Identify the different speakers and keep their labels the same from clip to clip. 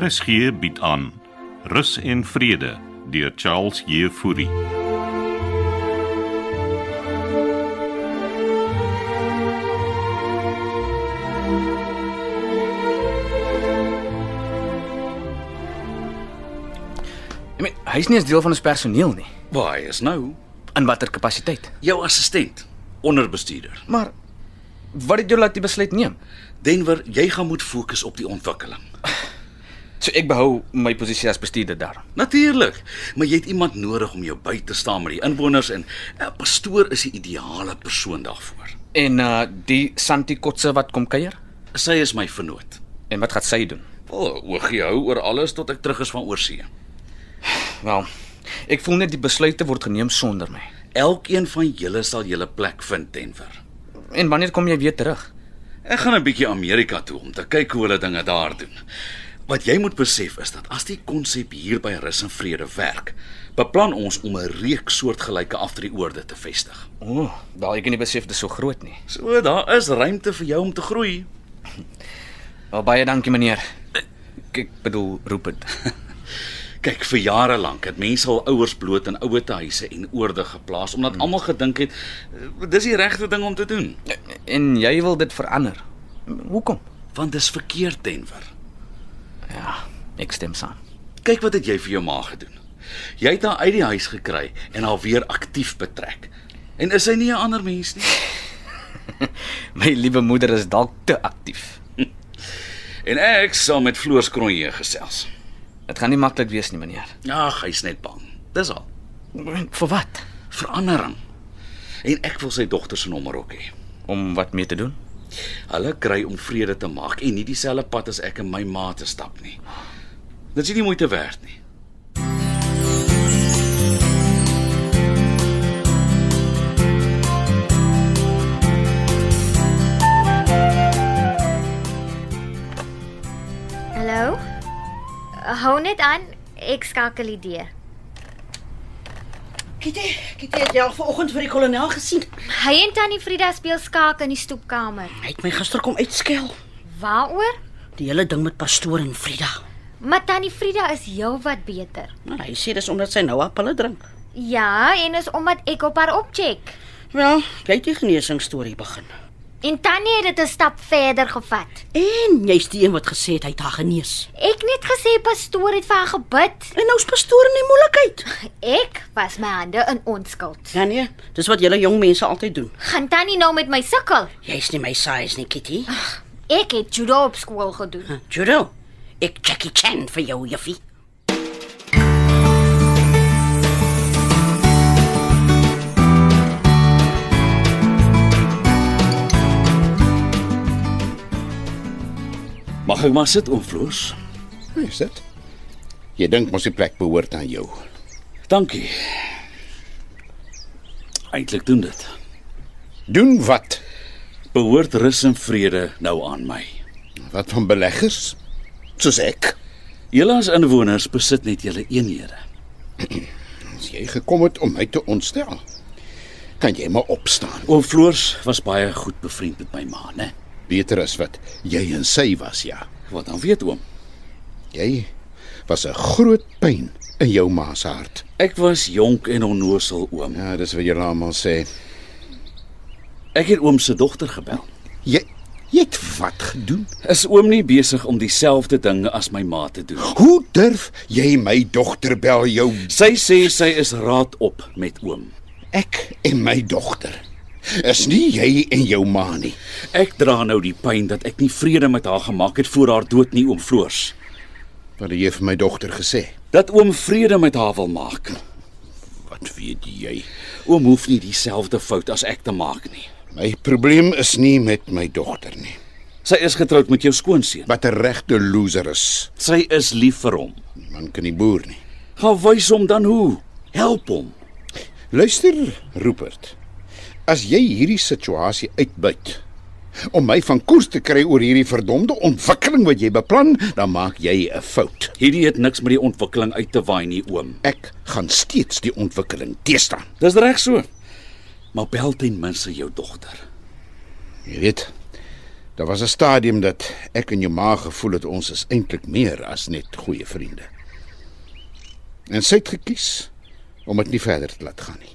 Speaker 1: RSG bied aan Rus en Vrede deur Charles Jefouri.
Speaker 2: Ek meen, hy's nie eens deel van ons personeel nie.
Speaker 3: Waar hy is nou?
Speaker 2: In watter kapasiteit?
Speaker 3: Jou assistent, onderbestuurder.
Speaker 2: Maar wat het jou laat die besluit neem?
Speaker 3: Denver, jy gaan moet fokus op die ontwikkeling.
Speaker 2: So ek behou my posisie as bestuurder daar.
Speaker 3: Natuurlik, maar jy het iemand nodig om jou by te staan met die inwoners en 'n pastoor is die ideale persoon daarvoor.
Speaker 2: En uh die Santi Kotse wat kom kuier?
Speaker 3: Sy is my vernoot.
Speaker 2: En wat gaan sy doen?
Speaker 3: Wel, oogie hou oor alles tot ek terug is van oorsee.
Speaker 2: Wel, ek voel net die besluite word geneem sonder my.
Speaker 3: Elkeen van julle sal julle plek vind, Denver.
Speaker 2: En wanneer kom jy weer terug?
Speaker 3: Ek gaan 'n bietjie Amerika toe om te kyk hoe hulle dinge daar doen. Wat jy moet besef is dat as die konsep hier by Rus en Vrede werk, beplan ons om 'n reeks soortgelyke afdrieoorde te vestig.
Speaker 2: O, oh, daai ek kan nie besef dis so groot nie.
Speaker 3: So daar is ruimte vir jou om te groei.
Speaker 2: Wel baie dankie meneer. Ek ek bedoel Rupert.
Speaker 3: Kyk, vir jare lank het mense al ouers bloot in ouete huise en oorde geplaas omdat almal gedink het eh, dis die regte ding om te doen,
Speaker 2: En jy wil dit verander. Hoekom?
Speaker 3: want dis verkeerd, Denver.
Speaker 2: Ja, ek stem saam.
Speaker 3: Kyk wat het jy vir jou ma gedoen. Jy het haar uit die huis gekry en haar weer aktief betrek. En is sy nie 'n ander mens nie?
Speaker 2: My liewe moeder is dalk te aktief.
Speaker 3: En ek sal met Floors Kronje gesels.
Speaker 2: Dit gaan nie maklik wees nie meneer.
Speaker 3: Ag, hy's net bang. Dis al.
Speaker 2: Vir wat?
Speaker 3: Verandering. En ek wil sy dogter se nommer ook hê.
Speaker 2: Om wat mee te doen?
Speaker 3: Hulle kry om vrede te maak en nie dieselfde pad as ek en my ma te stap nie. Dit is nie die moeite werd nie.
Speaker 4: Hallo? Eh, Hou net aan, ek skakel die deur.
Speaker 5: Kitty, Kitty het jou al vanoggend vir die kolonel gesien.
Speaker 4: Hy en tannie Frida speel skaak in die stoepkamer.
Speaker 5: Hy het my gister kom uitskel.
Speaker 4: Waaroor?
Speaker 5: Die hele ding met pastoor en Frida.
Speaker 4: Maar tannie Frida is heelwat beter.
Speaker 5: Maar hy sê dis omdat sy nou appelle drink.
Speaker 4: Ja, en is omdat ek op haar opcheck.
Speaker 5: Wel, jy het die genesing storie begin.
Speaker 4: En tannie het dit 'n stap verder gevat.
Speaker 5: En jy's die een wat gesê het hy het haar genees.
Speaker 4: Ek net gesê pastoor het vir haar gebid.
Speaker 5: En nou's pastoor in die moeilikheid.
Speaker 4: Ek was my hande in onskuld.
Speaker 5: Ja nee, dis wat julle jong mense altyd doen.
Speaker 4: Gaan tannie nou met my sukkel?
Speaker 5: Jy's nie my size nie, Kitty.
Speaker 4: Ek het judo op skool gedoen.
Speaker 5: Judo. Ek Jackie Chan vir jou, juffie.
Speaker 3: Mag ek maar sit oom Floors?
Speaker 6: Hoe is dit? Jy dink mos die plek behoort aan jou.
Speaker 3: Dankie. Eintlik doen dit.
Speaker 6: Doen wat?
Speaker 3: Behoort rus en vrede nou aan my.
Speaker 6: Wat van beleggers? Soos ek.
Speaker 3: Julle as inwoners besit net julle eenhede.
Speaker 6: As jy gekom het om my te ontstel, kan jy maar opstaan.
Speaker 3: Oom Floors was baie goed bevriend met my ma, né?
Speaker 6: Beter as wat jy en sy was, ja.
Speaker 3: Wat dan weet oom?
Speaker 6: Jy was 'n groot pyn in jou ma se hart.
Speaker 3: Ek was jonk en onnosel oom.
Speaker 6: Ja, dis wat jy almal sê.
Speaker 3: Ek het oom se dogter gebel.
Speaker 6: Jy jy het wat gedoen?
Speaker 3: Is oom nie besig om dieselfde ding as my ma te doen?
Speaker 6: Hoe durf jy my dogter bel jou?
Speaker 3: Sy sê sy is raad op met oom.
Speaker 6: Ek en my dogter. Is nie jy en jou ma nie.
Speaker 3: Ek dra nou die pyn dat ek nie vrede met haar gemaak het voor haar dood nie, oom Floors.
Speaker 6: Wat het jy vir my dogter gesê?
Speaker 3: Dat oom vrede met haar wil maak.
Speaker 6: Wat weet jy?
Speaker 3: Oom hoef nie dieselfde fout as ek te maak nie.
Speaker 6: My probleem is nie met my dogter nie.
Speaker 3: Sy is getroud met jou skoonseun.
Speaker 6: Wat 'n regte loser is.
Speaker 3: Sy is lief vir hom.
Speaker 6: Die Man kan nie boer nie.
Speaker 3: Gaan wys hom dan hoe. Help hom.
Speaker 6: Luister, Rupert. As jy hierdie situasie uitbuit om my van koers te kry oor hierdie verdomde ontwikkeling wat jy beplan, dan maak jy 'n fout.
Speaker 3: Hierdie het niks met die ontwikkeling uit te waai nie, oom.
Speaker 6: Ek gaan steeds die ontwikkeling teestaan.
Speaker 3: Dis reg so. Maar bel ten minste jou dogter.
Speaker 6: Jy weet, Daar was 'n stadium dat ek in jou ma gevoel het ons is eintlik meer as net goeie vriende. En sy het gekies om dit nie verder te laat gaan nie.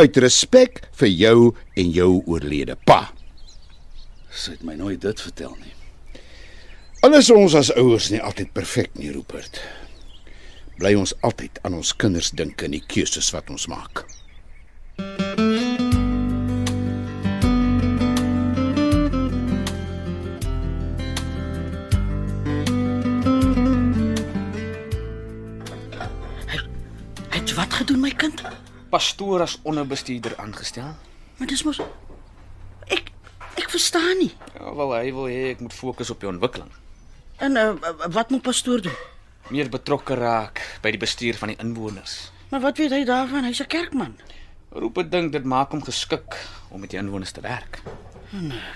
Speaker 6: Uit respek vir jou en jou oorlede pa.
Speaker 3: Sy het my nooit dit vertel nie.
Speaker 6: Alles ons as ouers nie altyd perfek nie, Rupert. Bly ons altyd aan ons kinders dink en die keuses wat ons maak.
Speaker 5: Hy het wat gedoen my kind?
Speaker 2: Pastoor as onderbestuurder aangestel.
Speaker 5: Maar dis mos ek ek verstaan nie.
Speaker 2: Ja, wel hy wil hê ek moet fokus op die ontwikkeling.
Speaker 5: En uh, uh, wat moet pastoor doen?
Speaker 2: Meer betrokke raak by die bestuur van die inwoners.
Speaker 5: Maar wat weet hy daarvan? Hy's 'n kerkman.
Speaker 2: Roepe dink dit maak hom geskik om met die inwoners te werk.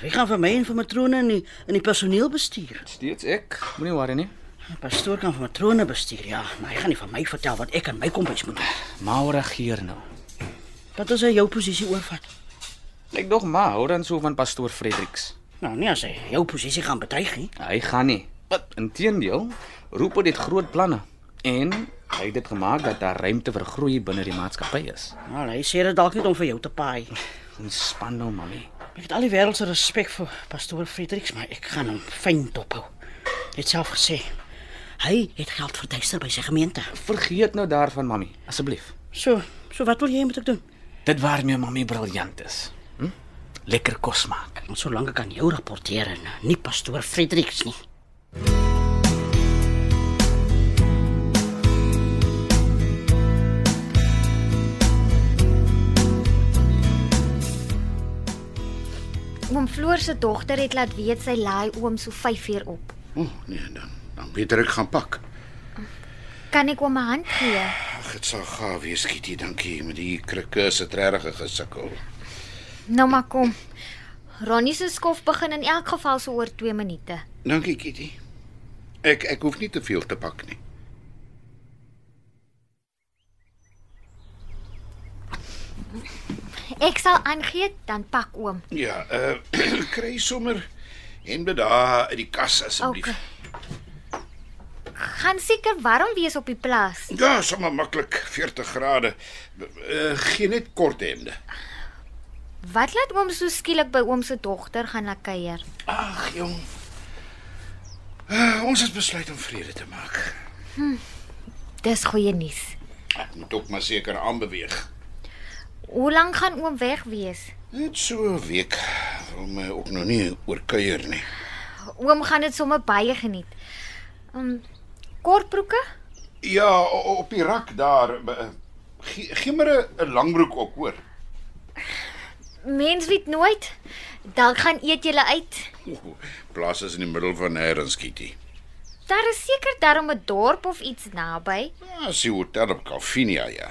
Speaker 5: Hy gaan vir my en vir matrone in die in die personeel bestuur.
Speaker 2: Steeds ek, moenie worry nie.
Speaker 5: Die pastoor kan vir matrone bestuur, ja, maar hy gaan nie van my vertel wat ek aan my kombuis moet doen.
Speaker 2: Maar regeer nou.
Speaker 5: Wat as hy jou posisie oorvat?
Speaker 2: Ek dog maar hou dan so van pastoor Fredericks.
Speaker 5: Nou nie as hy jou posisie gaan bedreig nie.
Speaker 2: Hy gaan nie. Wat? Inteendeel, Roepe het groot planne en hy het dit gemaak dat daar ruimte vir groei binne die maatskappy is.
Speaker 5: Nou, hy sê dit dalk net om vir jou te paai.
Speaker 2: Ontspan nou, mami.
Speaker 5: Ek het al die wêreld se respek vir pastoor Fredericks, maar ek gaan hom fyn dophou. Hy het self gesê hy het geld verduister by sy gemeente.
Speaker 2: Vergeet nou daarvan, mami, asseblief.
Speaker 5: So, so wat wil jy moet ek doen?
Speaker 2: Dit waarmee mami briljant is. Hm? Lekker kos maak.
Speaker 5: Want solank ek aan jou rapporteer en nie pastoor Fredericks nie.
Speaker 4: Oom Floor se dogter het laat weet sy laai oom so 5 uur op.
Speaker 6: O oh, nee, dan dan beter ek gaan pak.
Speaker 4: Kan ek oom 'n hand gee?
Speaker 6: Ag, dit sal gaaf wees, Kitty, dankie. Met die krikke is dit regtig gesukkel.
Speaker 4: Nou maar kom. Ronnie se skof begin in elk geval so oor 2 minute.
Speaker 6: Dankie, Kitty. Ek ek hoef nie te veel te pak nie.
Speaker 4: Ek sal aangee, dan pak oom.
Speaker 6: Ja, uh kry sommer hemde daar uit die kas asseblief.
Speaker 4: Okay. Gaan seker warm wees op die plaas.
Speaker 6: Ja, sommer maklik 40 grade. Uh, geen net kort hemde.
Speaker 4: Wat laat oom so skielik by oom se dogter gaan laat kuier?
Speaker 6: Ag, jong. Uh, ons het besluit om vrede te maak.
Speaker 4: Dis goeie nuus.
Speaker 6: Ek moet ook maar seker aanbeweeg.
Speaker 4: Hoe lank gaan oom weg wees?
Speaker 6: Net so 'n week wil my ook nog nie oorkuier nie.
Speaker 4: Oom gaan dit sommer baie geniet. Um kortbroeke?
Speaker 6: Ja, o- o- op die rak daar. be- eh, Gee gee maar 'n- 'n langbroek ook, hoor.
Speaker 4: Mens weet nooit. Dalk gaan eet julle uit.
Speaker 6: O, Plaas is in die middel van nêrens, Kitty.
Speaker 4: Daar is seker daarom 'n dorp of iets naby.
Speaker 6: Ja, sy hotel op Kalvinia, ja.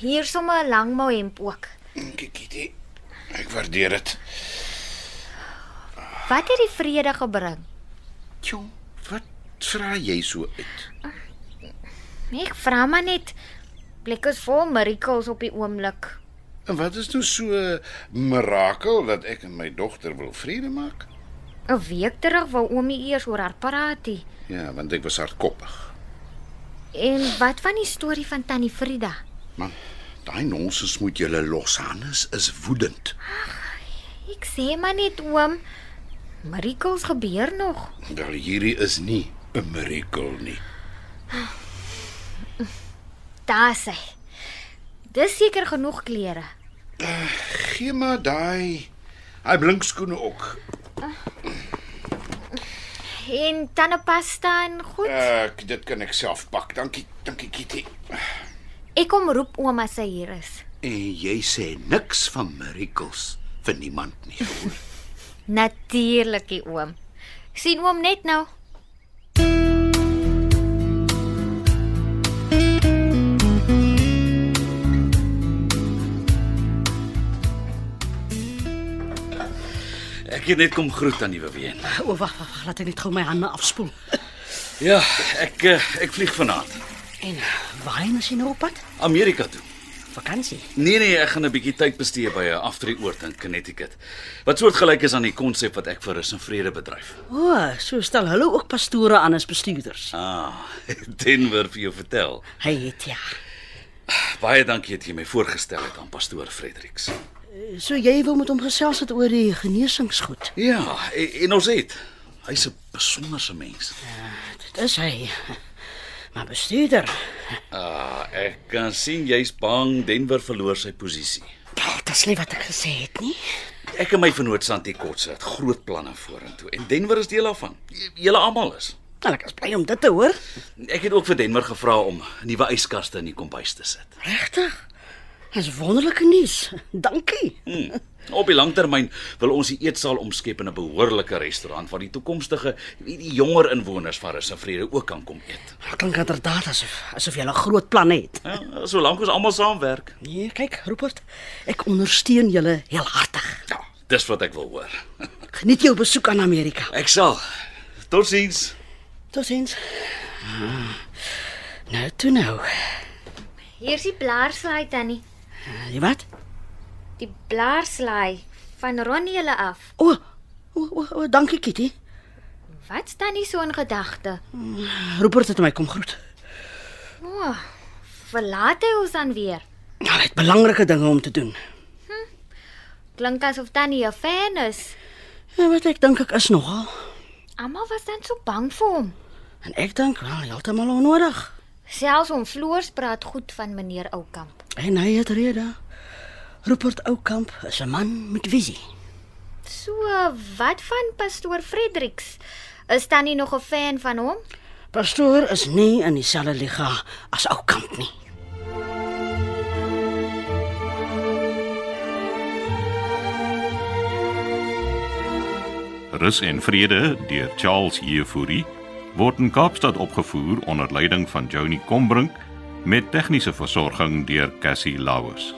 Speaker 4: Hier sommer 'n langmou hemp ook.
Speaker 6: Dankie, Kitty. Ek waardeer dit.
Speaker 4: Wat het die vrede gebring?
Speaker 6: Tjoe, wat vra jy so uit?
Speaker 4: Nee, Ek vra maar net. Plek is vol miracles op die oomblik.
Speaker 6: En wat is nou so 'n mirakel dat ek en my dogter wil vrede maak?
Speaker 4: 'n Week terug wou oomie eers oor haar paraatie.
Speaker 6: Ja, want ek was hardkoppig.
Speaker 4: En wat van die storie van tannie Frida?
Speaker 6: Man, daai nonsens moet julle los. Hannes is woedend.
Speaker 4: Ek sê maar net oom, miracles gebeur nog.
Speaker 6: Wel, hierdie is nie 'n mirakel nie.
Speaker 4: Daar sê. Dis seker genoeg klere.
Speaker 6: Gee maar daai hy blink skoene ook.
Speaker 4: En tandepasta en goed.
Speaker 6: Ek dit kan ek self pak. Dankie, dankie Kitty.
Speaker 4: Ek kom roep oom as hy hier is.
Speaker 6: En jy sê niks van miracles vir niemand nie. hoor.
Speaker 4: Natuurlik, die oom. sien oom net nou.
Speaker 3: Ek het net kom groet aan die Weween.
Speaker 5: O, wag, wag, wag, laat ek net gou my hande afspoel.
Speaker 3: Ja, ek eh, ek vlieg vanaand
Speaker 5: En waarheen is jy nou op pad?
Speaker 3: Amerika toe.
Speaker 5: Vakansie.
Speaker 3: Nee nee, ek gaan 'n bietjie tyd bestee by 'n aftreeoort in Connecticut. Wat soortgelyk is aan die konsep wat ek vir rus en vrede bedryf.
Speaker 5: O, oh, so stel hulle ook pastore aan as bestuurders.
Speaker 3: Ah, Denver vir jou vertel.
Speaker 5: Hy het ja.
Speaker 3: Baie dankie dat jy my voorgestel het aan pastoor Fredericks.
Speaker 5: So jy wil met hom gesels het oor die genesingsgoed.
Speaker 3: Ja, en, en ons het. Hy's 'n besonderse mens.
Speaker 5: Dit is hy. Maar bestuurder,
Speaker 3: Ah, ek kan sien jy's bang Denver verloor sy posisie.
Speaker 5: dit is nie wat ek gesê het nie.
Speaker 3: Ek en my vernoot Santi Kotse het groot planne vorentoe en Denver is deel daarvan. J- Julle almal is.
Speaker 5: Nou ek is bly om dit te hoor.
Speaker 3: Ek het ook vir Denver gevra om nuwe yskaste in die kombuis te sit.
Speaker 5: Regtig? Dis wonderlike nuus. Dankie.
Speaker 3: Hmm. Op die langtermyn wil ons die eetsaal omskep in 'n behoorlike restaurant waar die toekomstige die, die jonger inwoners van Rusvrede ook kan kom eet.
Speaker 5: Dit klink inderdaad asof asof jy 'n groot plan het.
Speaker 3: Ja, solank ons almal saamwerk.
Speaker 5: Nee, kyk, Rupert, ek ondersteun julle heel hartig.
Speaker 3: Ja, dis wat ek wil hoor.
Speaker 5: Geniet jou besoek aan Amerika.
Speaker 3: Ek sal. Totsiens.
Speaker 5: Totsiens. Ah, Nou toe nou.
Speaker 4: Hier's die blaarslaai tannie.
Speaker 5: Eh, Jy wat?
Speaker 4: Die blaarslaai van Ronnie hulle af.
Speaker 5: O, o, o, o, dankie Kitty.
Speaker 4: Wat staan nie so in gedagte?
Speaker 5: Rupert het my kom groet.
Speaker 4: O, oh, verlaat hy ons dan weer?
Speaker 5: Nou, hy het belangrike dinge om te doen.
Speaker 4: Klink asof tannie 'n fan is.
Speaker 5: En wat ek dink ek is nogal.
Speaker 4: Almal was dan so bang vir hom.
Speaker 5: En ek dink wel heeltemal onnodig.
Speaker 4: Selfs om Floors praat goed van meneer Oukamp.
Speaker 5: En hy het rede. Rupert Oukamp is 'n man met visie.
Speaker 4: So, wat van pastoor Fredericks? Is tannie nog 'n fan van hom?
Speaker 5: Pastoor is nie in dieselfde liga as Oukamp nie.
Speaker 1: Rus en Vrede deur Charles Jefouri word in Kaapstad opgevoer onder leiding van Johnny Combrink met tegniese versorging deur Cassie Lauers.